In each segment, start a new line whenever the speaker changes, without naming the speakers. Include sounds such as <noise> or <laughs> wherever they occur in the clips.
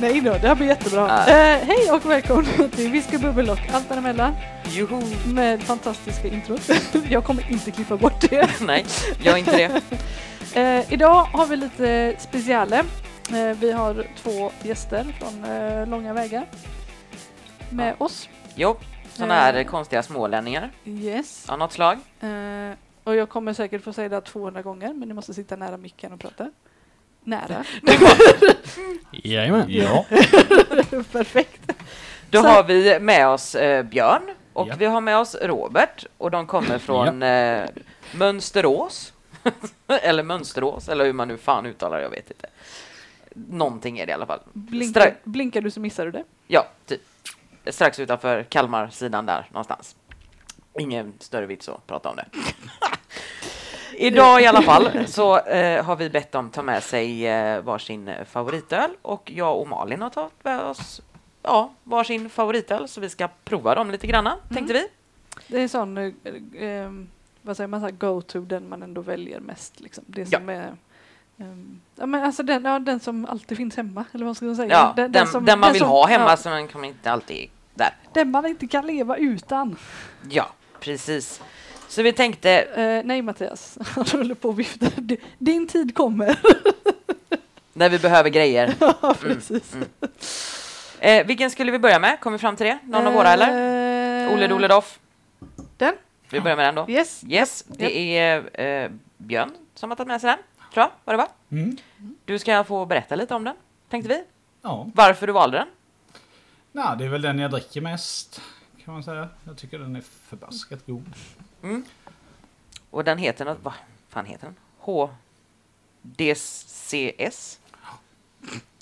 Nej då, det här blir jättebra.
Ja.
Eh, hej och välkomna till Whisky Bubbel och allt däremellan
Joho!
med fantastiska
<laughs>
introt. Jag kommer inte klippa bort det.
Nej, jag är inte det.
Eh, idag har vi lite speciale. Eh, vi har två gäster från eh, långa vägar med oss. Eh,
Jo, sådana här
Mm.
konstiga smålänningar
Yes.
av något slag.
Eh, och jag kommer säkert få säga det här 200 gånger men ni måste sitta nära micken och prata.
<laughs>
Nära.
Jajamän.
Ja.
Perfekt.
Då
Så-
har vi med oss eh, Björn och
Ja.
vi har med oss Robert och de kommer från eh, Mönsterås. <laughs> eller Mönsterås, eller hur man nu fan uttalar det, jag vet inte. Någonting är det i alla fall.
Blinkar, blinkar du så missar du det.
Ja, typ. Strax utanför Kalmarsidan där någonstans. Ingen större vits att prata om <laughs> det. Idag i alla fall så eh, har vi bett dem ta med sig eh, varsin favoritöl och jag och Malin har tagit med oss ja, varsin favoritöl så vi ska prova dem lite granna tänkte vi.
Det är sån, eh, eh, vad säger man, så här go-to, den man ändå väljer mest. Liksom. Det
Ja.
som är, ehm, ja, men alltså den, ja, den som alltid finns hemma, eller vad ska man säga?
Ja, den, den,
som-
man vill
som-
ha hemma
ja,
så den kommer inte alltid där.
den man inte kan leva utan.
Ja, precis. Så vi tänkte,
Eh, nej Mattias, <laughs> han håller på och viftar. Di- Din tid kommer.
när vi behöver grejer.
<laughs>
Mm,
Ja, precis.
Eh, vilken skulle vi börja med? Kom vi fram till det? Någon av våra eller?
eller?
Ole Doledoff.
Den?
Vi börjar med den då.
Eh, Yes. <laughs>
Yes, det är eh, Björn som har tagit med sig den, tror jag. Var det var.
Mm.
Du ska få berätta lite om den, tänkte vi.
Ja.
Varför du valde den.
Nej, det är väl den jag dricker mest. Kan man säga. Jag tycker den är förbaskat god.
Och den heter något, vad fan heter den?
<laughs>
HDCS?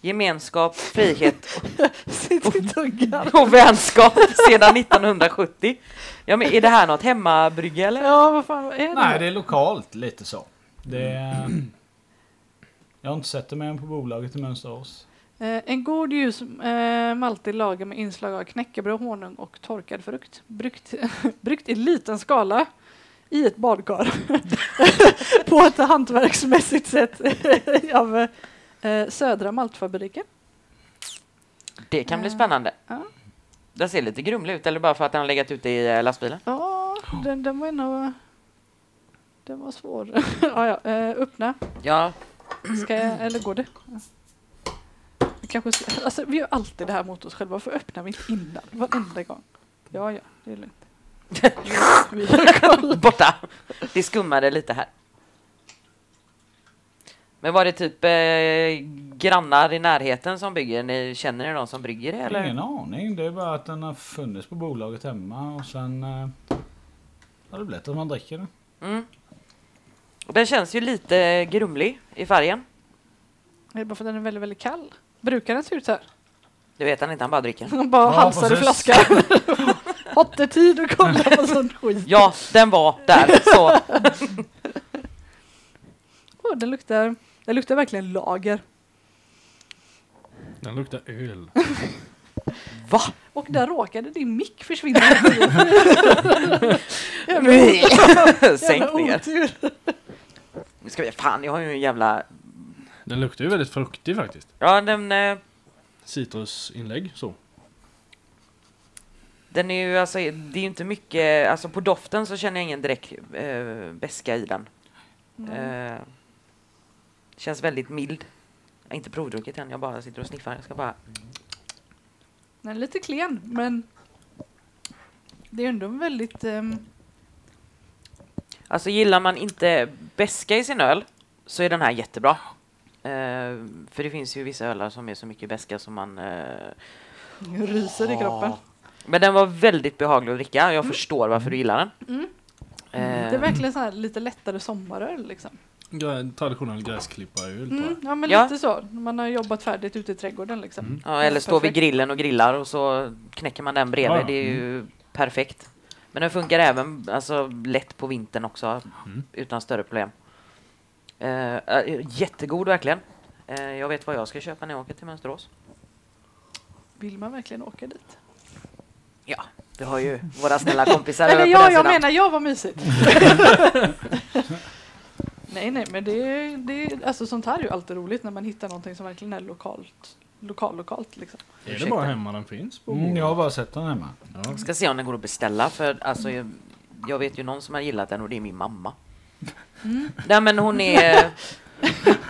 Gemenskap, frihet
Sitt i
<laughs>
tuggan.
och vänskap sedan 1970. Ja, men är det här något hemmabrygge eller?
Ja, vad fan vad är det?
Nej, det är lokalt lite så. Det är... Jag har inte sett det med den på bolaget i Mönsterås.
Eh, en god ljus eh, maltig lager med inslag av knäckebröd, honung och torkad frukt. <laughs> Bryggt, bryggt i liten skala i ett badkar <laughs> på ett hantverksmässigt sätt <laughs> av eh, Södra Maltfabriken.
Det kan bli
Eh,
spännande.
ja.
Den ser lite grumlig ut, eller bara för att den har legat ute i eh, lastbilen?
Ja, den, den var nog... Den var svår. <laughs> ja, ja, eh, öppna.
Ja,
Ska jag, eller går det? Jag Kanske, ska- alltså, vi gör alltid det här mot oss själva. Varför öppnar vi inte innan? Varenda gång. Ja, ja, det är lugnt. Vi har koll.
<laughs> Borta! Det skummade lite här. Men var det typ eh, grannar i närheten som bygger? Ni känner ni någon som brygger det? Eller?
Ingen aning. Det är bara att den har funnits på bolaget hemma och sen... Eh, har det blivit att man dricker den.
Mm. Och Den känns ju lite grumlig i färgen.
Det är bara för att den är väldigt, väldigt kall. Brukar den se ut så här? <laughs>
Det vet han inte, han bara dricker.
Den bara
Ja,
halsar i
precis.
<laughs>
flaskan. Hatt det tid att kolla på sånt skit.
Ja, den var där. Så. <laughs>
Åh, den, luktar, den luktar verkligen lager.
Den luktar öl.
Va?
Och där råkade din mick
<laughs>
försvinna. <laughs> jävla, jävla
Sänk ner.
otur.
Nu ska vi, fan, jag har ju en jävla...
Den luktar ju väldigt fruktig faktiskt.
Ja, den, eh,
Citrusinlägg så.
den är ju alltså, det är ju inte mycket, alltså på doften så känner jag ingen direkt eh, beska i den. Eh, känns väldigt mild. Jag har inte provdruckit än, jag bara sitter och sniffar. Jag ska bara...
Den är lite klen, men det är ändå en väldigt... ehm,
Alltså gillar man inte beska i sin öl så är den här jättebra. Eh, för det finns ju vissa ölar som är så mycket beska som man... eh,
jag ryser i kroppen.
Men den var väldigt behaglig att dricka. Jag förstår varför du gillar den.
Mm.
Eh,
Det är verkligen så här lite lättare sommaröl. Liksom.
Grä- Traditionell gräsklipparöl. tror jag.
Mm, ja, men
Ja.
lite så. Man har jobbat färdigt ute i trädgården. Liksom.
Mm.
ja, eller står vid
Perfekt.
grillen och grillar och så knäcker man den bredvid.
Ja, ja.
Det är
Mm.
ju perfekt. Men den funkar även alltså, lätt på vintern också.
Mm.
utan större problem. Eh, eh, jättegod verkligen. Eh, jag vet vad jag ska köpa när jag åker till Mönsterås.
Vill man verkligen åka dit?
Ja, vi har ju våra snälla kompisar över
Eller
på
ja,
den
jag
sidan.
menar, jag var
<laughs>
mysigt. nej, nej, men det är, det är, alltså, sånt här är ju alltid roligt när man hittar någonting som verkligen är lokalt lokal lokalt liksom.
Är det
Ursäkta.
bara hemma den finns? På
Mm, jag har bara sett den hemma.
Ja.
Ska se om den går att beställa för alltså jag, jag vet ju någon som har gillat den och det är min mamma. Nej men hon är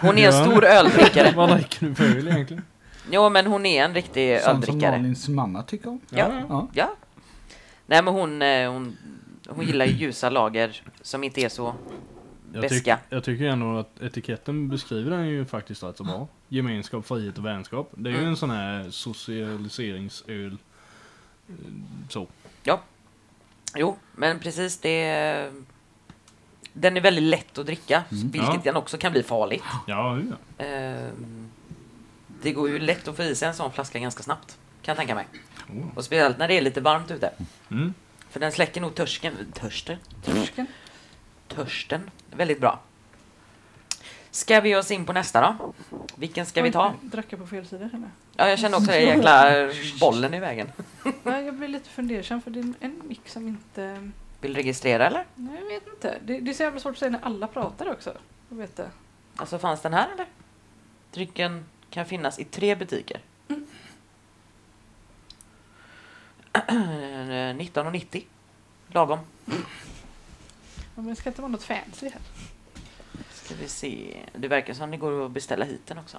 Hon är en
Ja.
<laughs>
stor öldrickare.
Vad dricker du för öl egentligen?
Jo men hon är en riktig
Sånt som
öldrickare.
Malins mamma tycker om.
Ja.
Ja.
Ja. Nej men hon, eh, hon, hon gillar ju ljusa lager som inte är så
Jag, tyck,
Beska.
jag tycker ändå att etiketten beskriver den ju faktiskt rätt så bra. Gemenskap, frihet och vänskap. Det är ju
Mm.
en sån här socialiseringsöl. Eh, Så.
Jo, men precis det. Den är väldigt lätt att dricka, vilket
Ja.
den också kan bli farlig.
Ja, ja.
Ehm, Det går ju lätt att få i sig en sån flaska ganska snabbt, kan jag tänka mig.
Oh.
Och speciellt när det är lite varmt ute.
Mm.
För den släcker nog törsken, törsten,
Torsken.
törsten väldigt bra. Ska vi ge oss in på nästa då? Vilken ska vi ta?
Oj, jag Drack jag på fel sida känner
Ja, jag kände också den jäkla bollen i vägen.
jag. Nej, Jag blir lite fundersam för det är en mick som inte...
Vill du registrera eller?
Nej, jag vet inte. Det, det är så jävla svårt att säga när alla pratar också. Jag vet det.
Alltså fanns den här eller? Drycken kan finnas i tre butiker. Mm. <clears throat> 19,90. Lagom.
Ja, Men det ska inte vara något fancy här.
Ska vi se. Det verkar som det går att beställa hit den också.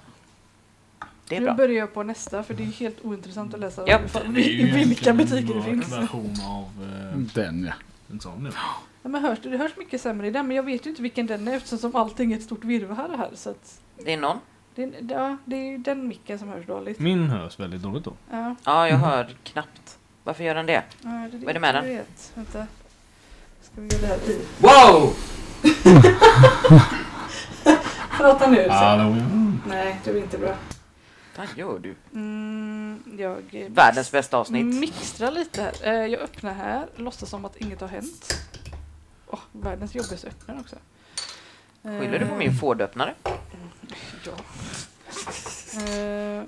Det är
nu
bra.
börjar jag på nästa för det är helt ointressant att läsa
Ja,
fa-
Det är ju
i
egentligen
vilka
en
butiker det
bra
finns. <laughs> Mm.
version av eh,
Den ja.
en sån nu.
Ja, men hörs det, det hörs mycket sämre i den men jag vet ju inte vilken den är eftersom som allting är ett stort virrvarr här. Så att
Det är någon.
det, är- ja, det är ju den micken som hörs dåligt.
Min hörs väldigt dåligt då.
Ja,
Ja, jag hör knappt. Varför gör den det?
ja, det,
Vad är det med
jag
den?
Vet. Vänta. Ska vi göra det här i?
Wow!
Prata nu. Så.
Hallå, ja.
Nej, det blir inte bra.
Vad gör du?
Mm, jag eh,
Världens bästa avsnitt.
mixtrar lite här. Eh, Jag öppnar här, låtsas som att inget har hänt. Åh, världens jobbigaste öppnare också.
Skyller du på
Eh,
min <laughs> Ford-öppnare?
Ja. Eh,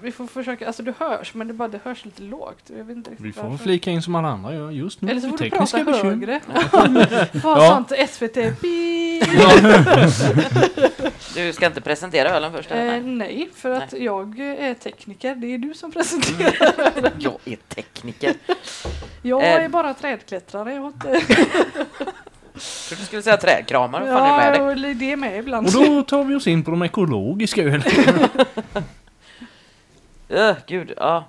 vi får försöka, alltså du hörs men det, bara, det hörs lite lågt. Jag vet inte riktigt
Vi får väl
varför.
flika in som alla andra gör just nu.
Eller så får du prata
Tekniska bekymmer.
högre. Vad
Ja.
sånt SVT? Beep. <laughs>
Du ska inte presentera ölen först? eller?
Eh, nej, för att jag är tekniker. Det är du som presenterar.
Mm. Nej. Jag är tekniker.
Jag
Eh.
är bara trädklättrare. Jag har inte...
Jag trodde du skulle säga trädkramare. Vad fan är det med dig?
Ja, och det är med ibland.
Och då tar vi oss in på de ekologiska ölen.
Öh, gud, ja.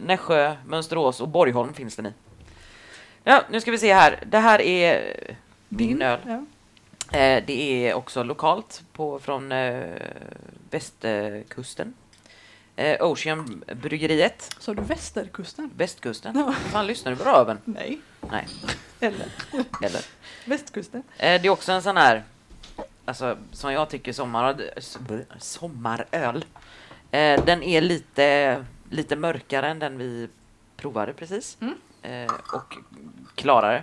Nässjö, Mönsterås och Borgholm finns den i. Ja, nu ska vi se här. Det här är eh, min öl.
Ja.
Eh, det är också lokalt på, från eh, västkusten. Eh, Ocean Bryggeriet,
Så du Västerkusten?
västkusten.
Ja.
Fan, lyssnar du på röven?
Nej.
Nej.
Eller
Eller?
Västkusten?
Eh, det är också en sån här, alltså, som jag tycker sommar, s- b- sommaröl. Eh, den är lite, lite mörkare än den vi provade precis.
Mm.
Eh, och klarare.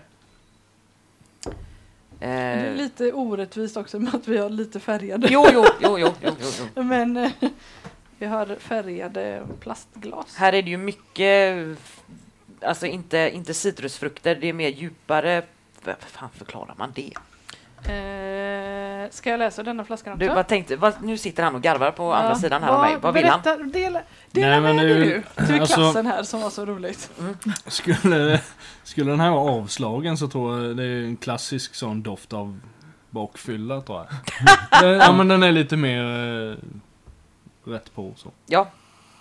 Det är
Eh,
lite orättvist också med att vi har lite färgade.
jo, jo, jo, jo, jo, jo, jo.
Men eh, vi har färgade plastglas.
Här är det ju mycket, alltså inte, inte citrusfrukter, det är mer djupare. Vad fan förklarar man det?
Eh, ska jag läsa denna flaskan också?
Du, vad tänkte, vad, nu sitter han och garvar på andra sidan här av
Vad-
mig. Vad vill han?
berätta, han? Dela, dela
Nej, men
med dig
nu-
nu till
alltså-
klassen här som var så roligt.
Skulle, skulle den här vara avslagen så tror jag det är en klassisk sån doft av
<laughs>
bakfylla tror jag. Den- ja men den är lite mer eh, rätt på så.
Ja,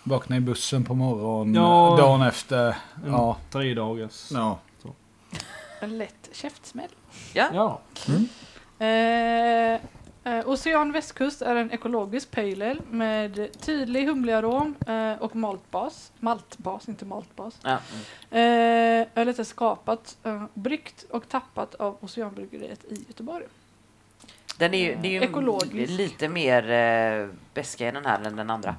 Vakna i bussen på morgonen,
Ja.
dagen efter.
En
Ja.
Tre dagars.
Ja.
En lätt käftsmäll.
Ja.
Eh, eh, Ocean västkust är en ekologisk pale ale med tydlig humlearom eh, och maltbas. Maltbas, inte maltbas.
ja.
Eh, ölet är skapat, eh, bryggt och tappat av Oceanbryggeriet i Göteborg.
Den är ju, det är ju
Ekologisk.
lite mer eh, beska i den här än den andra.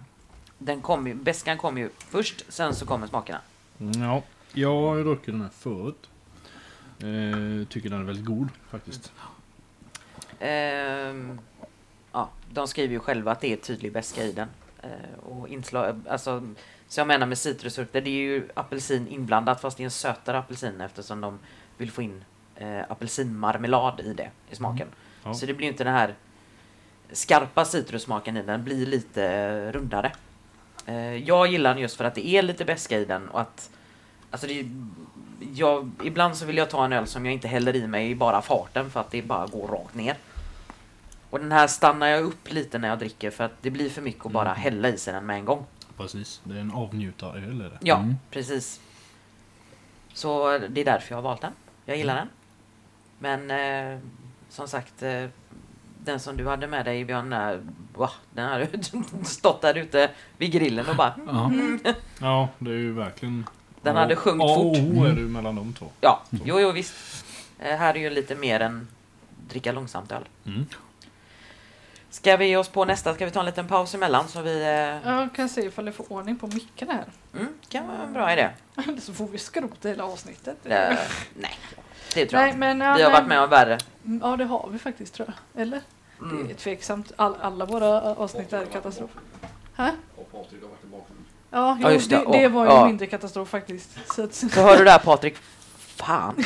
Den kom ju, beskan kom ju först, sen så kommer smakerna.
Ja. Jag har ju druckit den här förut. Eh, tycker den är väldigt god faktiskt.
Ehm, ja, de skriver ju själva att det är tydlig beska i den. Eh, och inslag, alltså, så jag menar med citrusfrukter, det är ju apelsin inblandat fast det är en sötare apelsin eftersom de vill få in eh, apelsinmarmelad i det, i smaken.
Ja.
Så det blir ju inte den här skarpa citrussmaken i den, den blir lite eh, rundare. Eh, jag gillar den just för att det är lite beska i den och att... Alltså det, jag, ibland så vill jag ta en öl som jag inte häller i mig i bara farten för att det bara går rakt ner. Och den här stannar jag upp lite när jag dricker för att det blir för mycket att bara
Mm.
hälla i sig den med en gång.
Precis, det är en avnjutaröl är det.
Ja,
Mm.
precis. Så det är därför jag har valt den. Jag gillar den. Men eh, som sagt, eh, den som du hade med dig Björn, eh, va, den hade <laughs> stått där ute vid grillen och bara...
Ja.
Ja, det är ju verkligen...
Den hade sjunkit
A
fort.
och O är det ju mellan de två.
Ja, jo, jo visst. Eh, här är ju lite mer än dricka långsamt öl.
Mm.
Ska vi ge oss på nästa? Ska vi ta en liten paus emellan så vi... Eh,
Jag kan se ifall jag får ordning på mickarna här. <laughs>
mm, kan vara en bra idé.
Eller så får vi skrota hela avsnittet.
Eh, nej, det tror jag
Nej,
inte.
men, ja,
Vi har
nej.
varit med om värre.
Ja, det har vi faktiskt tror jag. Eller? Det
Mm.
är tveksamt. All, alla våra ä, avsnitt är katastrof. Hä? Ja, jo,
Ja, just det.
det, det
Åh,
var ju
ja.
mindre katastrof faktiskt. Så att, <laughs>
Så hör du där Patrik. <laughs> Fan.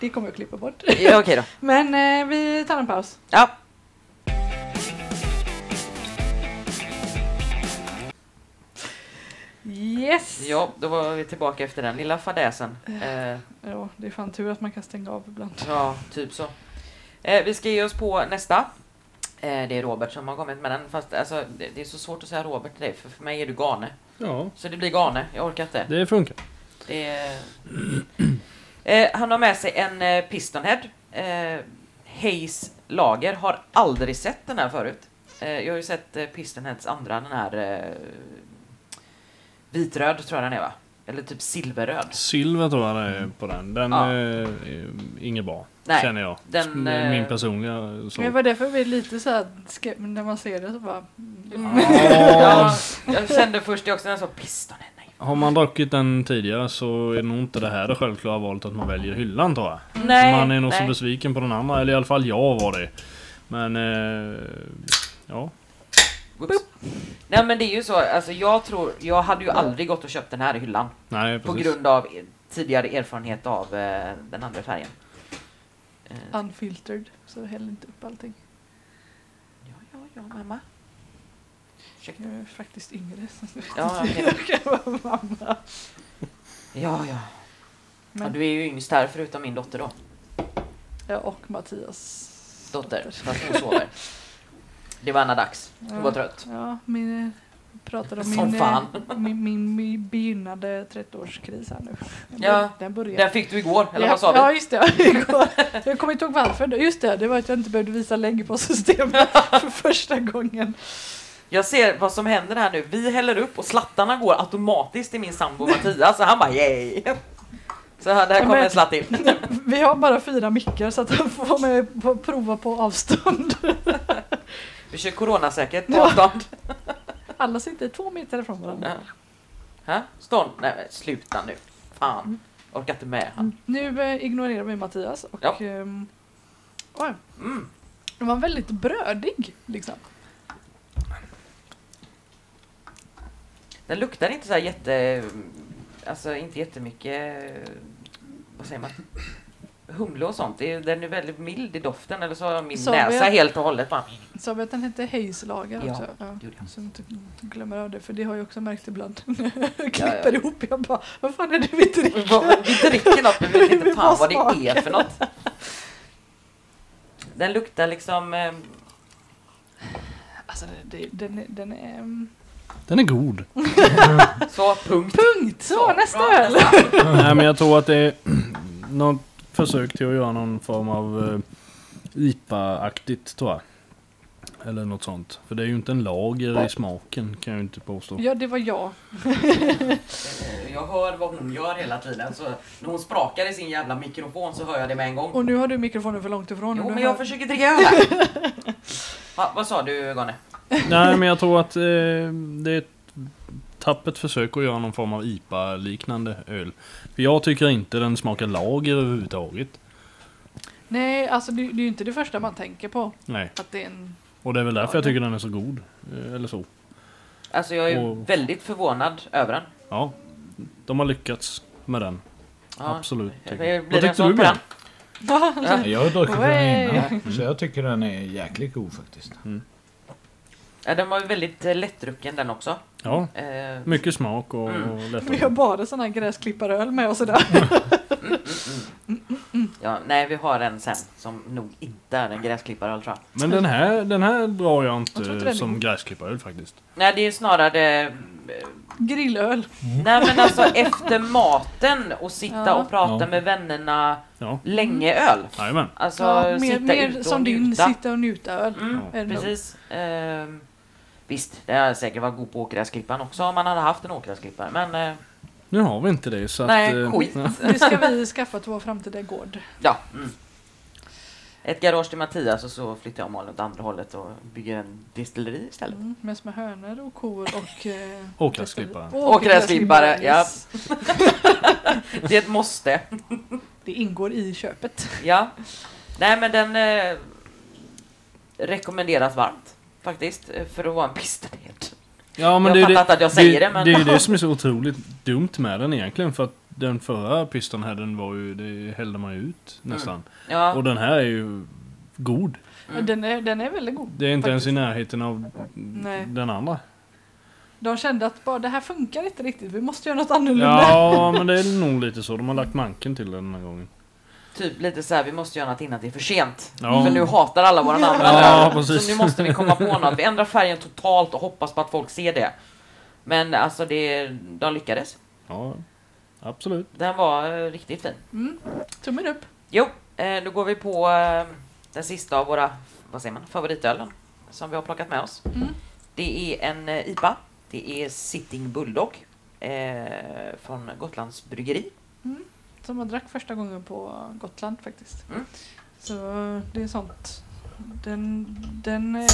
det kommer jag klippa bort.
Ja, okej då.
Men eh, vi tar en paus.
Ja.
Yes!
ja, då var vi tillbaka efter den lilla fadäsen. Eh,
Ja, det är fan tur att man kan stänga av ibland.
ja, typ så. Eh, vi ska ge oss på nästa. Eh, det är Robert som har kommit med den. Fast alltså, det, det är så svårt att säga Robert till dig, för för mig är du Gane.
Ja,
Så det blir Gane, jag orkar inte.
det funkar.
Det är... eh, han har med sig en eh, Pistonhead. Eh, Hayes Lager. Har aldrig sett den här förut. Eh, jag har ju sett eh, Pistonheads andra, den här... Eh, vitröd tror jag den är va? Eller typ silverröd.
Silver tror jag det är på den. Den
Ja.
är eh, inget bra,
Nej,
känner jag.
den,
Det är Min
eh,
personliga
Men det
så.
var därför vi är lite så här skep- när man ser det så bara... Mm. <laughs>
<laughs> Ja, jag kände först det också när jag sa Pistonhead. Nej.
Har man druckit den tidigare så är nog inte det här det självklara valet att man väljer hyllan tror jag.
Nej,
man är nog så
nej.
besviken på den andra, eller i alla fall jag var det. Men... Eh, ja.
Whoops. Nej men det är ju så, alltså jag tror, jag hade ju aldrig gått och köpt den här i hyllan.
Nej,
På
precis.
grund av er- tidigare erfarenhet av eh, den andra färgen. Eh,
Unfiltered, så häll inte upp allting.
Ja, ja, ja, mamma. Ursäkta.
Jag är faktiskt yngre. <laughs> Så jag vet
Ja,
inte
okej.
hur jag kan vara mamma.
Ja, ja. ja.
Men-
Du är ju yngst här förutom min dotter då.
Ja, och Mattias
Dotter, fast hon
<laughs>
sover. Det var Anna dags. Hon var
Ja.
trött.
Ja, min, jag pratar om
Som
min,
fan.
eh, min, min, min begynnande 30-årskris här nu. Den
Ja.
bör- Den börjar.
Den fick du igår, eller
ja,
vad sa vi?
Ja, just det. <laughs> Igår. Jag kommer inte ihåg varför. Just det, det var att jag inte behövde visa längd på
<laughs>
systemet för första gången.
Jag ser vad som händer här nu. Vi häller upp och slattarna går automatiskt till min sambo Mattias. Så han bara yay! <laughs> Så här, där
Ja,
kommer
men-
en slatt till.
Vi har bara fyra mickar så att han får vara med på prova på avstånd.
Vi kör coronasäkert på
Ja.
avstånd.
Alla sitter två meter ifrån varandra.
Hä? Stånd? Nej men sluta nu. Fan. Orkar inte med han.
Nu eh, ignorerar vi Mattias och...
Ja.
ehm, oj,
Mm.
den var väldigt brödig liksom.
Den luktar inte så här jätte... Alltså inte jättemycket... Vad säger man? Humle och sånt. Det är- Den är väldigt mild i doften. Eller så har min
Så
näsa
vet-
helt och hållet bara...
Sa vi att den hette Hayes-lager
Ja,
också? Ja.
gjorde jag.
Så jag inte glömmer av det, för det har jag också märkt ibland. <laughs> jag
Ja,
klipper
ja.
ihop, jag bara, vad fan är det vi dricker?
Vi bara- vi dricker något men vi vet inte
Vi
fan vad
bara
det är för något. Den luktar liksom... eh,
Alltså, det, det, den, är- den är... ehm,
Den är god.
Så, punkt.
Punkt! Så,
Så, bra,
nästa öl!
Nej, men jag tror att det är något försök till att göra någon form av eh, IPA-aktigt tror jag. Eller något sånt. För det är ju inte en lager i smaken kan jag ju inte påstå.
Ja, det var jag.
Eh, Jag hör vad hon gör hela tiden. Så när hon sprakar i sin jävla mikrofon så hör jag det med en gång.
Och nu har du mikrofonen för långt ifrån. och
Jo
du
men
hör-
jag försöker dricka öl
<laughs>
här. Va, vad sa du Gane?
Nej, men jag tror att eh, det är ett tappert försök att göra någon form av IPA-liknande öl. För jag tycker inte den smakar lager överhuvudtaget.
Nej, alltså det, det är ju inte det första man tänker på.
Nej,
Att det är en...
och det är väl därför jag tycker den är så god. Eh, Eller så.
Alltså jag är
Och-
väldigt förvånad över den.
Ja, de har lyckats med den.
Ja.
Absolut.
Blir
tycker jag.
det en sån på
Björn?
den?
Jag har druckit den
Way.
innan, så jag tycker den är jäkligt god faktiskt.
Ja, den var ju väldigt eh, lättdrucken den också.
Ja,
Eh,
mycket smak och,
Mm.
och
Vi
lättare.
har bara sådana här gräsklipparöl med oss idag.
ja, nej, vi har en sen som nog inte är en gräsklippare tror jag.
Men den här, den här drar jag
Jag
inte
tror inte den är
eh, som
god.
gräsklippare faktiskt.
Nej, det är ju snarare... eh,
Grillöl.
Nej, men alltså efter maten och sitta
Ja. Mm.
och prata
Mm. Ja.
med vännerna
Ja.
länge öl.
Jajamän.
Alltså
Ja, mer
sitta
mer
ute
som
och
din
njuta.
sitta och njuta-öl.
Mm,
Ja.
Är det nog.
precis. Ehm, visst, det hade säkert varit god på åkgräsklipparen också om man hade haft en åkgräsklippare. Men eh,
Nu har vi inte det så
nej,
att... eh,
skit.
ja.
Det ska
<laughs>
vi skaffa till vår framtida gård.
Ja. Mm. Ett garage till Mattias och så flyttar jag Malin åt andra hållet och bygger en distilleri istället.
Mm, med små hönor och kor och... Eh,
Och gräsklippare.
och
Och gräsklippare, ja.
yes.
Det är ett måste.
Det ingår i köpet.
Ja. Nej men den eh, rekommenderas varmt faktiskt eh, för att vara en pistenhet.
Ja, men
Jag
det är
fattar inte
det,
att jag säger det, men-
Det är ju det som är så otroligt dumt med den egentligen. För att den förra pistan här, den var ju... Det hällde man ju ut nästan.
Mm. Ja.
Och den här är ju god.
Mm.
Ja, Den, är, den är väldigt god.
Det är inte ens i
faktiskt.
närheten av
Nej.
den andra.
De kände att bara, det här funkar inte riktigt, vi måste göra något annorlunda.
Ja, men det är nog lite så. De har lagt manken till den den här gången.
Typ lite så här, vi måste göra något innan det är för sent.
Ja.
För nu hatar alla våra namn.
Ja,
öl.
precis.
så nu måste vi komma på något. Vi ändrar färgen totalt och hoppas på att folk ser det. Men alltså, det, de lyckades.
Ja, absolut.
Den var eh, riktigt fin.
Mm. Tummen upp.
Jo, eh, nu går vi på eh, den sista av våra vad säger man, favoritölen som vi har plockat med oss.
Mm.
Det är en eh, IPA. Det är Sitting Bulldog eh, från Gotlands bryggeri.
Som jag drack första gången på Gotland faktiskt.
Mm.
Så det är sånt. Den, den är...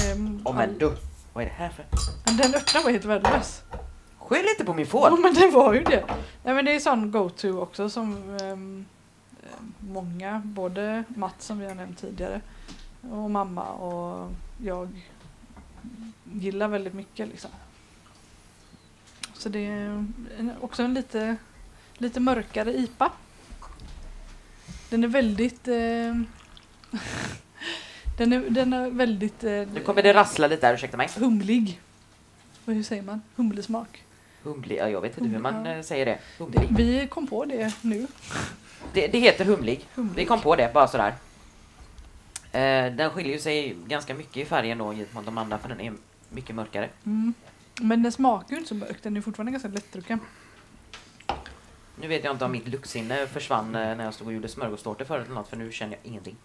Åh men du, vad är det här för?
Men den öppna var helt värdelös.
Skyll inte på min
Ja,
fål!
men det var ju det. Nej men det är sån go-to också som ehm, eh, många, både Matt som vi har nämnt tidigare och mamma och jag gillar väldigt mycket liksom. Så det är en- också en lite, lite mörkare IPA. Den är väldigt ehm, <laughs> den, är, den är väldigt eh,
Nu kommer det rassla lite här, ursäkta mig.
humlig. Vad- Hur säger man? Humlesmak.
Humlig, ja, jag vet inte hur man
Humlig, ja.
eh, säger det.
Det,
Humlig.
vi kom på det nu.
Det, det heter humlig.
Humlig.
Vi kom på det, bara sådär. Eh, den skiljer ju sig ganska mycket i färgen då gentemot de andra för den är mycket mörkare.
Mm. Men den smakar ju inte så mörk, den är fortfarande ganska lättdrucken.
Nu vet jag inte om mitt luktsinne försvann eh, när jag stod och gjorde smörgåstårta förut eller något för nu känner jag ingenting.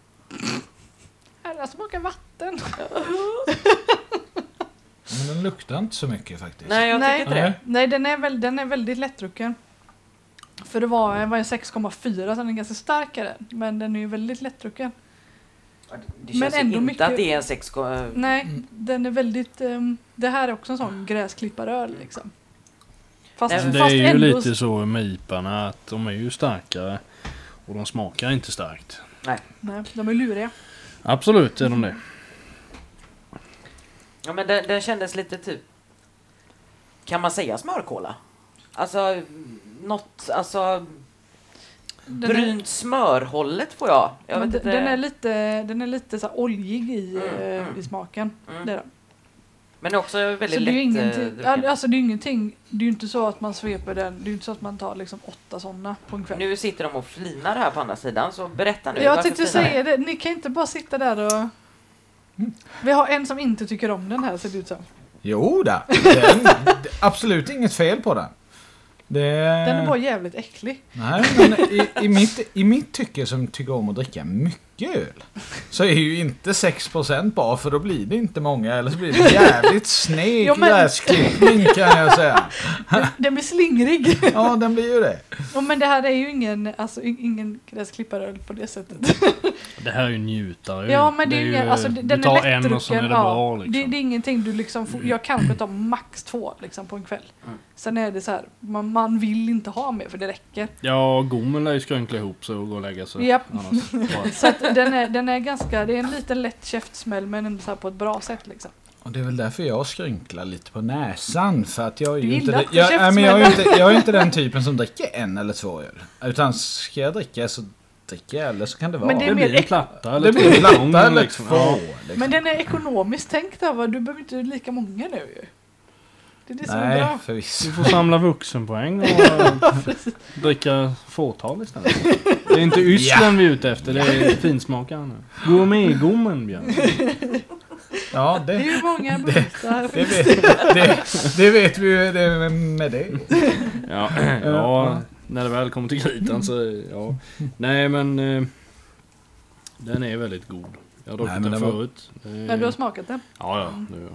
Äh, Den smakar vatten.
Men den luktar inte så mycket faktiskt.
Nej, jag
Nej.
tycker inte det.
Nej, den är, väl, den är väldigt lättdrucken. För det var, det var en 6,4 så den är ganska starkare. Men den är ju väldigt lättdrucken.
Det
Men
känns ju
ändå
inte
mycket-
att det är en sex... eh,
Nej,
Mm.
den är väldigt... ehm, det här är också en sån gräsklipparöl liksom. Fast,
Nej, men
Det är
fast
ju
ändå...
lite så med iparna att de är ju starkare och de smakar inte starkt.
Nej, de är luriga.
Absolut är de det.
Ja men den, den kändes lite typ... Kan man säga smörkola? Alltså, något, alltså...
Den är,
Brynt smörhållet får jag. jag
men
vet
den,
inte.
den är lite, den är lite så här oljig i,
Mm,
eh,
mm.
i smaken.
Mm.
Det är den.
Men det är också väldigt
Så Alltså, det är ju
lätt... eh,
ingenting,
drucken.
ja, alltså det är ju ingenting, det är ju inte så att man sveper den, det är ju inte så att man tar liksom åtta sådana på en kväll.
Nu sitter de och flinar här på andra sidan, så berätta nu.
jag
varför
tänkte
flinar ni?
säga det, ni kan inte bara sitta där och... Vi har en som inte tycker om den här ser det ut som.
Jo
<laughs>
då. Den, det- absolut inget fel på den. Det,
Den
Eh.
är bara jävligt äcklig.
Nej, men i, i, mitt, i mitt tycke som tycker om att dricka mycket öl så är ju inte 6% bra för då blir det inte många eller så blir det
<laughs>
jävligt sned
Jo, men-
gräsklippning kan jag säga.
Den blir slingrig.
Ja, den blir ju det.
Ja, men det här är ju ingen, alltså, i- ingen gräsklipparöl på det sättet.
Det här är ju njutare.
Ja men det är ju ingen,
ju-
alltså det- den
Du tar
är lättdrucken.
en och sen är det
ja.
bra liksom.
det, det är ingenting du liksom, får, jag kanske tar max två liksom på en kväll.
Mm.
Sen är det så här, man, man vill inte ha mer för det räcker.
Ja, gommen lär ju skrynkla ihop sig och gå och lägga sig.
Japp. <laughs>
Annars. bara-
Så att den, är, den är ganska, det är en liten lätt käftsmäll men ändå så här på ett bra sätt liksom.
Och det är väl därför jag skrynklar lite på näsan. För att jag är
Du
ju inte,
gillar
det-
inte
jag, nej, men jag är ju
käftsmällar.
inte, jag är inte den typen som dricker en eller två öl. Utan ska jag dricka så Plastdricka eller så kan det vara.
Men
Det,
är mer
blir en
äk-
platta eller
det blir
två.
platta eller
Liksom,
två.
ja.
Liksom.
Men den är ekonomiskt tänkt där va? Du behöver inte lika många nu ju. Det är det som är
Nej,
bra.
förvisso.
Du får samla vuxenpoäng
<laughs>
och eh, dricka fåtal
<laughs>
istället. Det är inte ysslan vi är ute efter, det är finsmakarna. Gourmetgommen, Björn.
Ja,
Det är
det,
ju många burkar.
det, vet, det, det vet vi ju det, med det. <clears throat>
Ja, ja, när det väl kommer till kritan så ja. Nej men eh, den är väldigt god. Jag har
Nej,
druckit
men
den
den var-
förut. Eh,
När du har smakat den.
Ja, ja. Det gör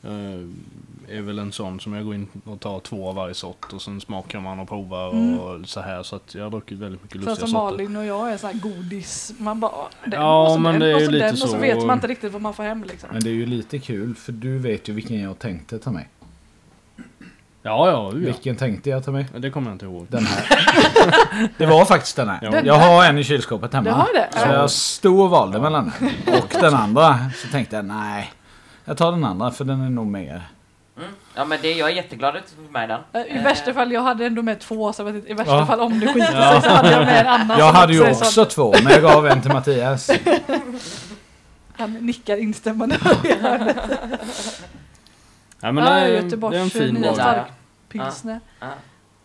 jag. Eh, är väl en sån som jag går in och tar två av varje sort och sen smakar man och provar
Mm.
och så här. Så att jag har druckit väldigt mycket
Så
lustiga
som
sorter.
Malin och jag är sån här godis. Man bara, "Ah, den
Ja,
och så
men
den
det är
och
ju
så
lite
den och så
så.
vet man inte riktigt vad man får hem liksom.
Men det är ju lite kul för du vet ju vilken jag tänkte ta med.
Ja, ja. u, ja.
Vilken tänkte jag ta med?
Det kommer jag inte ihåg.
Den här. Det var faktiskt den här.
Ja. Den
Jag har en i kylskåpet hemma.
Du har det?
Så
Ja.
jag stod och valde mellan den och den andra. Så tänkte jag nej, jag tar den andra för den är nog mer.
Mm. Ja men det, jag är jätteglad att du tog med den.
Eh, I
Eh,
värsta fall, jag hade ändå med två så jag vet inte, i värsta
Ja.
fall om det skiter
Ja.
sig så hade jag med en annan.
Jag
som
hade ju
är sån-
också två men jag gav en till Mattias.
Han nickar instämmande.
Ja, men
ah,
det, är, det
Göteborgs
är en fin
nya
vara.
vara.
stark pilsner.
Ja,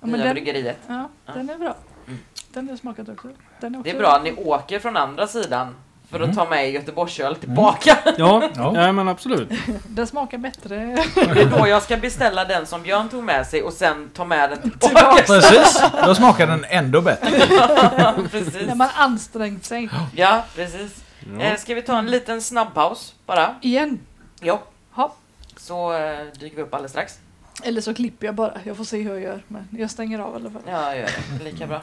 Ja, men
Eh, nya
den,
bryggeriet.
ja,
Ja.
den är bra.
Mm.
Den har jag smakat också. Den är också
Det är bra att ni åker från andra sidan för att
Mm.
ta med Göteborgsöl tillbaka.
Ja,
Ja.
ja, men absolut.
Den smakar bättre.
<laughs> Det är då jag ska beställa den som Björn tog med sig och sen ta med den tillbaka.
Precis, då smakar den ändå bättre.
<laughs> precis.
När man ansträngt sig.
Ja, precis.
Ja.
Eh, ska vi ta en liten snabbpaus bara?
Igen.
Ja.
Ja.
Så eh, dyker vi upp alldeles strax.
Eller så klipper jag bara. Jag får se hur jag gör. Men jag stänger av i alla fall.
Ja, jag gör det. Lika bra.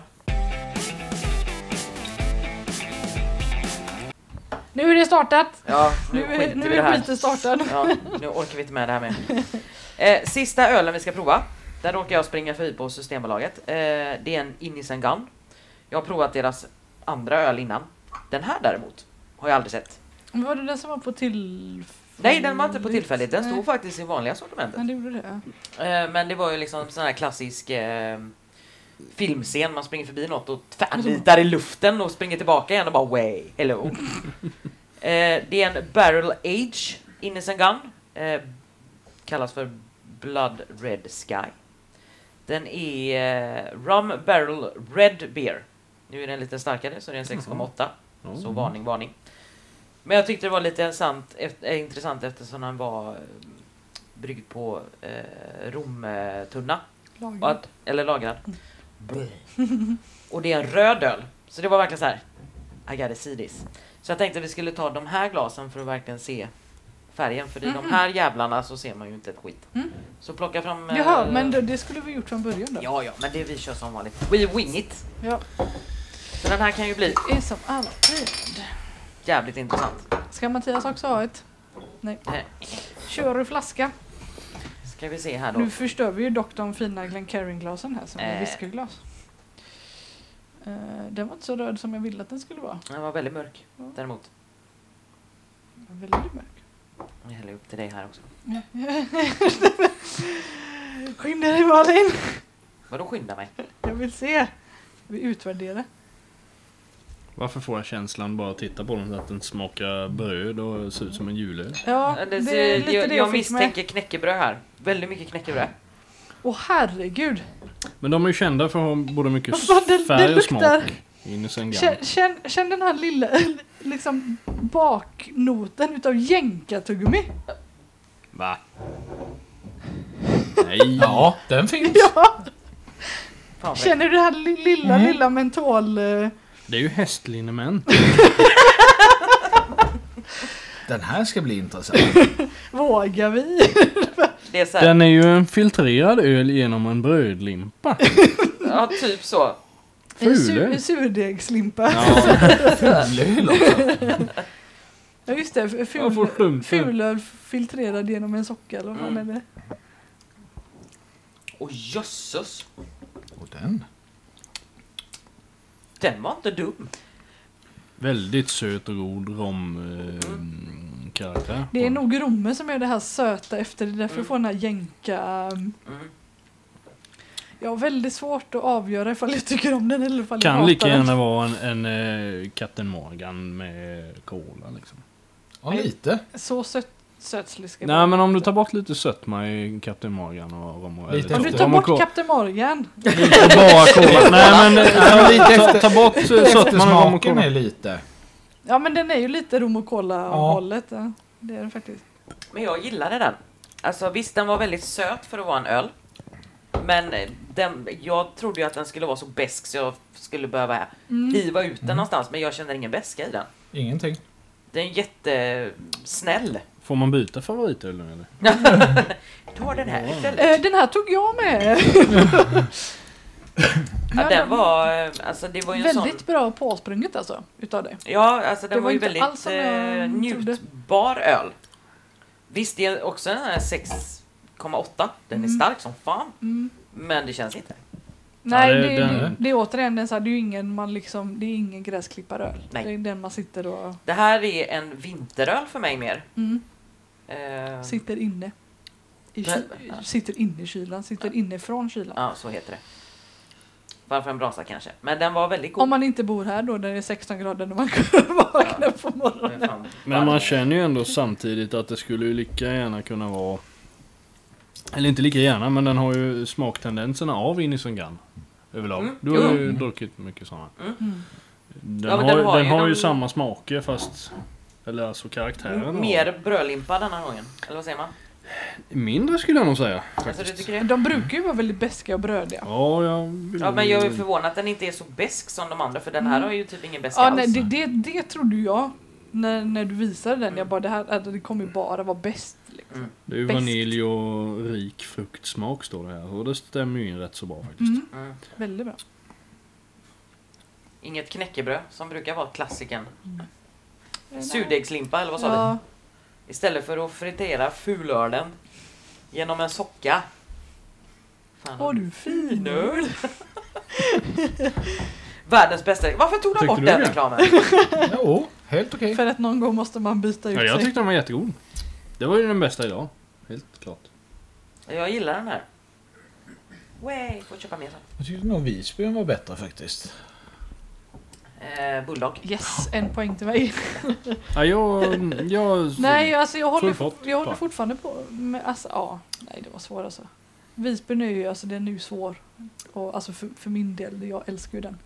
Nu är det startat!
Ja,
Nu är,
skiter
nu
vi i det
är
här.
skiten startad.
Ja, nu orkar vi inte med det här med. Eh, sista ölen vi ska prova. Där råkar jag springa förbi på Systembolaget. Eh, det är en Innocent Gun. Jag har provat deras andra öl innan. Den här däremot har jag aldrig sett.
Men var det den som var på tillfälligt?
Nej, den var inte på tillfälligt. Den
Nej.
stod faktiskt i vanliga sortimentet.
Ja, det gjorde det. ja.
Eh, men det var ju liksom sån här klassisk eh, filmscen. Man springer förbi något och tvärnitar i luften och springer tillbaka igen och bara way, hello. eh, det är en Barrel Age Innocent Gun. Eh, kallas för Blood Red Sky. Den är eh, Rum Barrel Red Beer. Nu är den lite starkare så det är en 6,8.
Mm.
Så varning, varning. Men jag tyckte det var lite sant, eft- eh, intressant eftersom han var eh, bryggd på eh, romtunna.
Mm.
Och
Lager.
att, eller lagrad. Och det är en röd öl. Så det var verkligen så här. I gotta see this. Så jag tänkte vi skulle ta de här glasen för att verkligen se färgen. För i de
Mhm.
här jävlarna så ser man ju inte ett skit.
Mm.
Så plocka fram... eh,
Jaha, men det, det skulle vi gjort från början då.
Ja, ja, men det vi kör som vanligt. We wing it.
Ja.
Så den här kan ju bli
Det är som alltid.
jävligt intressant.
Ska Mattias också ha ett? Nej.
Nej.
Kör ur flaska.
Ska vi se här då.
Nu förstör vi ju dock de fina Glencairn-glasen här som är
Eh.
whiskyglas. Eh, Den var inte så röd som jag ville att den skulle vara.
Den var väldigt mörk
Ja.
däremot.
Väldigt mörk.
Jag häller upp till dig här också.
<laughs> Skynda dig Malin!
Vadå skynda mig?
Jag vill se. Vi utvärderar.
Varför får jag känslan bara att titta på den att den smakar bröd och ser ut som en julöl?
Ja,
Eh, Det,
det
ser-
är lite
jag
det
jag
jag fick med.
misstänker knäckebröd här. Väldigt mycket knäckebröd.
Åh herregud!
Men de är ju kända för att ha både mycket
Vad den- den
färg och
luktar.
smak. Innocent Gun.
Känn, känn, känn den här lilla <laughs> liksom baknoten utav jänkartuggummi.
Va? Nej.
Ja, den finns.
Ja,
Fan, vad-
känner du det här li- lilla,
Mm.
lilla mentol... eh,
Det är ju hästlinemän.
Den här ska bli intressant.
Vågar vi?
Det är så här,
Den är ju en filtrerad öl genom en brödlimpa.
ja typ så.
En, su
Fulöl.
en surdegslimpa. Ja.
Ja,
Fulöl också.
just det, f-
jag får
ful,
slumpen.
fulöl filtrerad genom en socka eller vad fan
Mm.
är det?
Och jösses.
Och den.
Den var inte dum.
Väldigt söt och god eh, romkaraktär.
Det är nog
Mm.
Mm. rommen som är det här söta efter, det är därför du får den här jänka...
Mm.
Jag har um, väldigt svårt att avgöra ifall jag tycker om den eller ifall jag
Kan
hatar
lika
den.
gärna vara en, en eh, Captain Morgan med cola liksom.
Ja, lite.
Så söt, sötslig ska jag vara.
Nej men om du tar bort lite sötma i Captain Morgan och rom och...
Lite
Om du
efter.
tar
rom och
bort
cola.
Captain Morgan.
Och bara cola. <laughs> Nej men eh,
men lite
ta, ta,
efter-
ta bort eh, sötman och rom och
Eftersmaken
cola.
är lite.
Ja men den är ju lite rom och cola hållet. Ja. Det är den faktiskt.
Men jag gillade den. Alltså visst, den var väldigt söt för att vara en öl. Men eh, den, jag trodde ju att den skulle vara så besk så jag skulle behöva
Mm.
hiva ut den någonstans. Men jag känner ingen beska i den.
Ingenting.
Den är jättesnäll.
Får man byta favoritöl nu eller?
Ta den här istället.
Eh, den här tog jag med.
Ja, den var, eh, alltså det var ju en sån...
Väldigt bra påsprunget alltså. Utav det.
Ja, alltså den
Det
var,
var
ju
inte
väldigt
alls som jag
eh,
trodde.
njutbar öl. Visst, det är också den här 6,8. Den är stark som fan.
Mm.
Men det känns inte.
Nej,
det-
det, det,
den-
är återigen en så här, det är ju ingen man liksom, det är ingen gräsklipparöl.
Nej.
Det är den man sitter och
Det här är en vinteröl för mig mer.
mm,
Eh,
sitter inne. I
Men-
ky- sitter inne i kylan, sitter inne från kylan.
Ja, så heter det. Varför en brasa kanske. Men den var väldigt god.
Om man inte bor här då där det är 16 grader när man <laughs> kan vakna på morgonen.
Men fan,
Men man känner ju ändå samtidigt att det skulle ju lika gärna kunna vara... Eller inte lika gärna, men den har ju smaktendenserna av Inisungan. Överlag.
Mm.
Du har
Jo.
ju druckit mycket sådana.
Mm.
Mm.
Den,
Ja, men den
har, den,
har ju
har ju
de- Mm,
samma smaker fast... Eller alltså karaktären har-
Mer brödlimpa denna gången. Eller vad säger man?
Mindre skulle jag nog säga.
Alltså, du
Faktiskt.
tycker
Men
det?
De brukar ju vara väldigt beska och brödiga.
Ja, jag vill...
Ja, men jag är förvånad att den inte är så besk som de andra. För den här har ju typ ingen beska
Mm. Ja,
alls.
nej, det, det, det trodde ju jag när, när du visade den. Jag bara, det, här, alltså, det kommer ju bara vara bäst. Liksom.
Mm.
Det är ju
Bäst.
vanilj och rik fruktsmak står det här. Och det stämmer ju in rätt så bra faktiskt.
Mm.
Mm.
Väldigt bra.
Inget knäckebröd som brukar vara klassikern.
Eh,
Surdegslimpa eller vad sa
ja,
vi? Istället för att fritera fulölen genom en socka. Fan,
Åh du finöl.
finöl! Världens bästa. Varför tog de
Tyckte
bort
du
den
det?
reklamen?
Jo, helt okej.
För att någon gång måste man byta ut
Ja, jag
sig.
tyckte den var jättegod. Det var ju den bästa idag. Helt klart.
Jag gillar den här. Way, får köpa mer sen.
Jag tyckte nog Visbyn var bättre faktiskt.
Eh, Bulldog.
Yes, en poäng till mig. <laughs>
Ja, jag... jag
Nej, alltså jag håller,
Full pott,
jag håller
bara.
fortfarande på med, alltså, ja, nej det var svårt alltså. Visbyn är ju, alltså den är ju svår. Och alltså för, för min del, jag älskar ju den.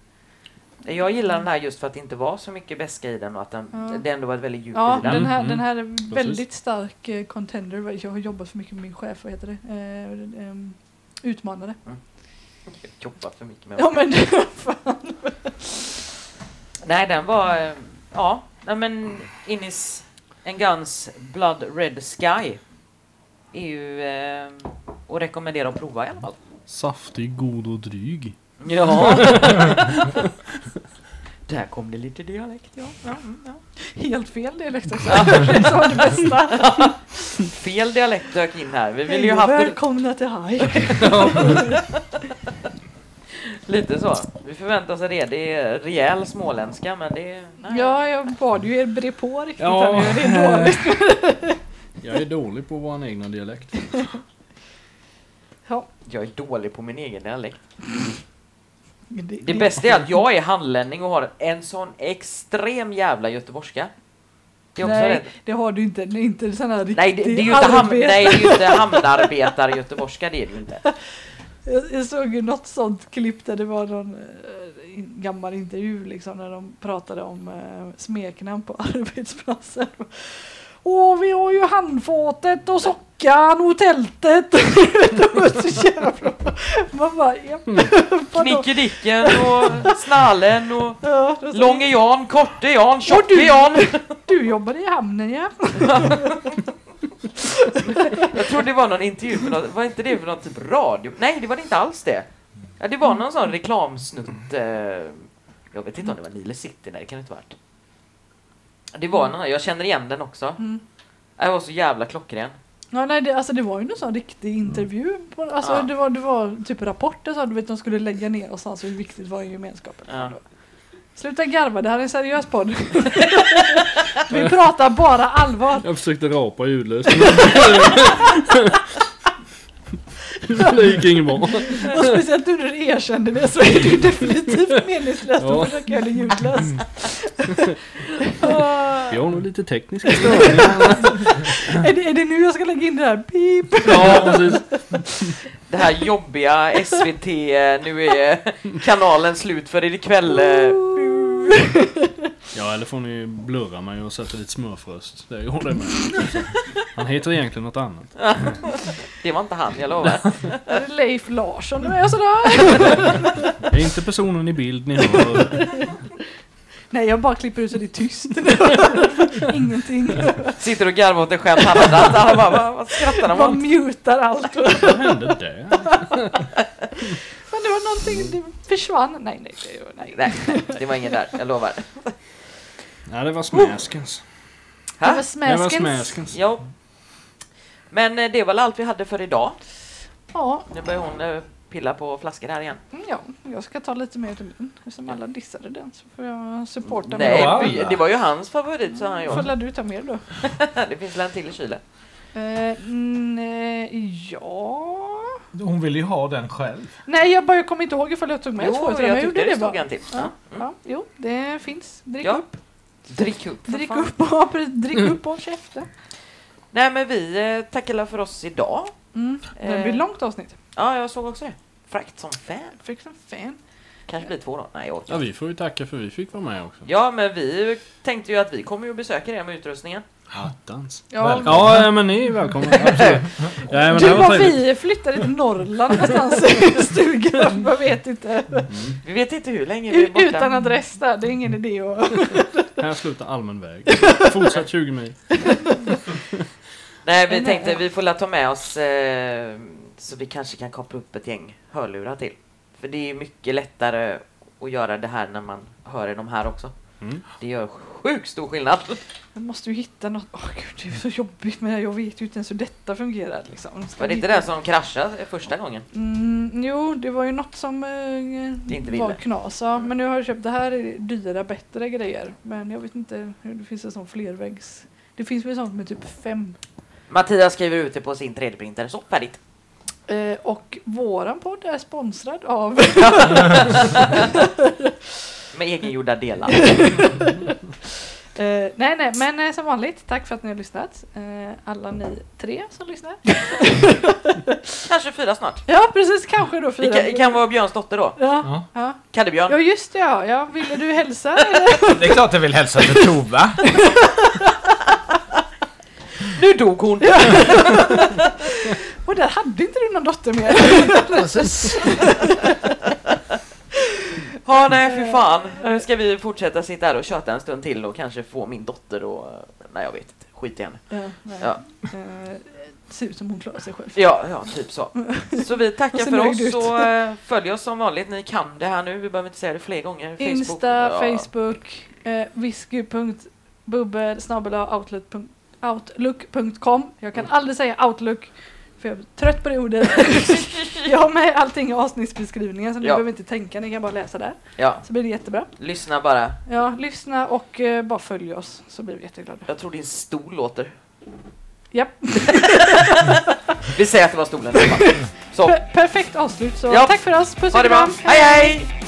Jag gillar den här just för att det inte var så mycket beska i den och att den,
Ja.
det ändå var ett väldigt djup
Ja,
i den.
den här,
Mm.
den här är väldigt stark eh, contender. Jag har jobbat för mycket med min chef, vad heter det? Eh, ehm, utmanare.
Jag jobbar för mycket med
Ja men <laughs>
Nej, den var... eh, Ja, nej men Innis en Guns Blood Red Sky är ju eh, att rekommendera att prova i alla fall.
Saftig, god och dryg.
<laughs> Ja. Där kom det lite dialekt, ja. ja, mm, ja.
helt fel liksom. dialekt också.
<laughs>
Det var det bästa.
Fel dialekt dök in här. Vi ville ju
Hej och
haft det
Välkomna till Haj.
lite så. Vi förväntar oss det. Det är rejäl småländska, men det är... Nej.
Ja, jag bad ju er bre på riktigt.
Ja.
här nu. Det är
<laughs>
dåligt.
Jag är dålig på vår egna dialekt.
Ja,
Jag är dålig på min egen dialekt.
men det,
Det bästa är att jag är hallänning och har en sån extrem jävla göteborgska. Det är också
nej,
rätt.
det har du inte. Det är inte sån här
Nej, det, det är ju inte, ham,
arbete.
nej, det är ju inte hamnarbetare göteborgska, det är det ju <laughs> inte.
Jag, jag såg ju något sånt klipp där det var någon eh, in- gammal intervju liksom när de pratade om eh, smeknamn på <laughs> arbetsplatsen. Åh, vi har ju handfatet och sockan och tältet. <laughs> det var så jävla... Man bara, ja.
Mm.
vadå?
Knickedicken och snallen och
Ja, då sa-
långe Jan, korte Jan, tjocke
du-
Jan.
Du jobbar i hamnen ja.
Jag tror det var någon intervju, för något, var inte det för någon typ radio? Nej, det var det inte alls det. Ja, det var någon sån reklamsnutt. Eh, jag vet inte om det var Nile City, nej det kan det inte ha varit. Det var någon, jag känner igen den också.
Mm.
Det var så jävla klockren.
Ja, nej, det, alltså, det var ju någon sån riktig intervju. På, alltså,
Ja.
det, var, det var typ rapporter så du vet de skulle lägga ner någonstans hur viktigt var ju gemenskapen.
Ja.
Sluta garva, det här är en seriös podd. Vi pratar bara allvar.
Jag försökte rapa ljudlöst. Det gick inget bra.
Och speciellt nu när du erkände det så är det ju definitivt meningslöst
Ja.
att försöka göra det ljudlöst. <laughs>
Vi har nog lite tekniska störningar.
är, det, är det nu jag ska lägga in det här? Pip!
Ja, precis.
Det här jobbiga SVT, eh, nu är eh, kanalen slut för ikväll. eh.
Ja, eller får ni blurra mig och sätta dit smörfröst. Det gjorde jag med. Han heter egentligen något annat.
Det var inte han, jag lovar.
Är det Leif Larsson Alltså, nu är jag sådär?
Det är inte personen i bild ni hör.
Nej, jag bara klipper ut så det är tyst. <laughs> Ingenting.
Sitter och garvar åt dig själv. Han, han, han bara, vad, vad skrattar de
Bara
åt?
mutar allt.
Vad hände där?
Men det var någonting, det försvann. Nej, nej, det- nej.
Nej, nej, det var ingen där, jag lovar.
Nej, det var smäskens.
Det var
Ha?
Det var
smäskens.
smäskens.
Jo. Men eh, det var väl allt vi hade för idag.
Ja,
Nu börjar hon eh, pilla på flaskor här igen.
mm, ja, jag ska ta lite mer utav min. Eftersom alla dissade den så får jag supporta
Nej,
mig.
Wow.
by- det var ju hans favorit sa han ju.
Får du ta mer då?
Det finns väl en till i kylen.
Eh, nej, ja...
Hon vill ju ha den själv.
Nej, jag, bara, jag kommer inte ihåg ifall jag tog med två.
Jo,
utan
jag
jag
tyckte
gjorde
det
det
stod
bara.
en till.
Ja, ja, jo, det finns. Drick
Ja,
upp.
Drick upp. för
Drick
fan.
upp, ja, precis. drick upp och <laughs> käften.
Nej men vi eh, tackar alla för oss idag.
Mm. Det blir
Eh.
långt avsnitt.
Ja, jag såg också det. Fräckt som fan.
Fick som fan.
Kanske blir två då. Nej, jag orkar
Ja,
inte.
vi får ju tacka för vi fick vara med också.
Ja, men vi tänkte ju att vi kommer ju att besöka er med utrustningen.
Hattans.
Ja,
Ja, men ni är välkomna. Absolut. Ja, men det
du
var
var
trevligt.
vi flyttade till
<laughs>
Norrland någonstans i stugan, jag vet inte.
Vi vet inte hur länge vi är
U-
borta.
utan adress där, det är ingen idé att...
Här slutar allmän väg. Fortsatt 20 mil.
Nej, vi
Nej.
tänkte vi får la ta med oss eh, så vi kanske kan koppla upp ett gäng hörlurar till. För det är mycket lättare att göra det här när man hör i de här också.
Mm.
Det gör sjukt stor skillnad.
Jag måste ju hitta något, åh gud det är så jobbigt men jag vet ju inte ens hur detta fungerar liksom. Ska
Var
vi
det inte
hitta-
den som kraschade första gången?
Mm, jo, det var ju något som eh,
inte
var
ville.
knas. Ja. Men nu har jag köpt det här är dyra, bättre grejer. Men jag vet inte hur det finns en sån flerväggs... Det finns väl sånt med typ fem.
Mattias skriver ut det på sin 3D-printer. Så <laughs> färdigt.
Eh, och våran podd är sponsrad <laughs> av...
Med egengjorda delar.
<laughs> Eh, nej, nej, men eh, som vanligt, tack för att ni har lyssnat. Eh, alla ni tre som lyssnar. <laughs>
Kanske fyra snart.
Ja, precis, kanske då
Det
fyra.
kan, kan vara Björns dotter då.
Ja,
Ja.
ja. ja,
Kaddebjörn.
just det ja. ja. Ville du
<laughs>
hälsa? eller?
Det är klart jag vill hälsa till Tova.
Nu dog hon!
<laughs> och där hade inte du någon dotter
<laughs>
mer.
Ja, nej
Eh.
för fan. Nu ska vi fortsätta sitta här och köta en stund till och kanske få min dotter och... Nej, jag vet inte. Skit i henne.
Ja, nej.
Ja.
Eh, ser ut som hon klarar sig själv.
Ja, ja,
<laughs>
typ så. Så vi
Och
tackar
ser
för
nöjd
oss
ut.
och eh, följ oss som vanligt. Ni kan det här nu. Vi behöver inte säga det fler gånger. Facebook.
Insta,
ja.
Facebook, eh, whisky.bubbel outlook.com. Jag
Mm.
kan aldrig säga outlook för jag är trött på det
<laughs>
ordet. jag har med allting i avsnittsbeskrivningen så ni
Ja.
behöver inte tänka, ni kan bara läsa där.
Ja,
Så blir det jättebra.
lyssna bara.
Ja, lyssna och eh, bara följ oss så blir vi jätteglada.
Jag tror din stol låter.
Japp.
<laughs> Vi säger att det var stolen. Så,
<laughs> Per- perfekt avslut så
Ja.
tack för oss, puss
ha
och
det bra.
kram.
Hej, hej!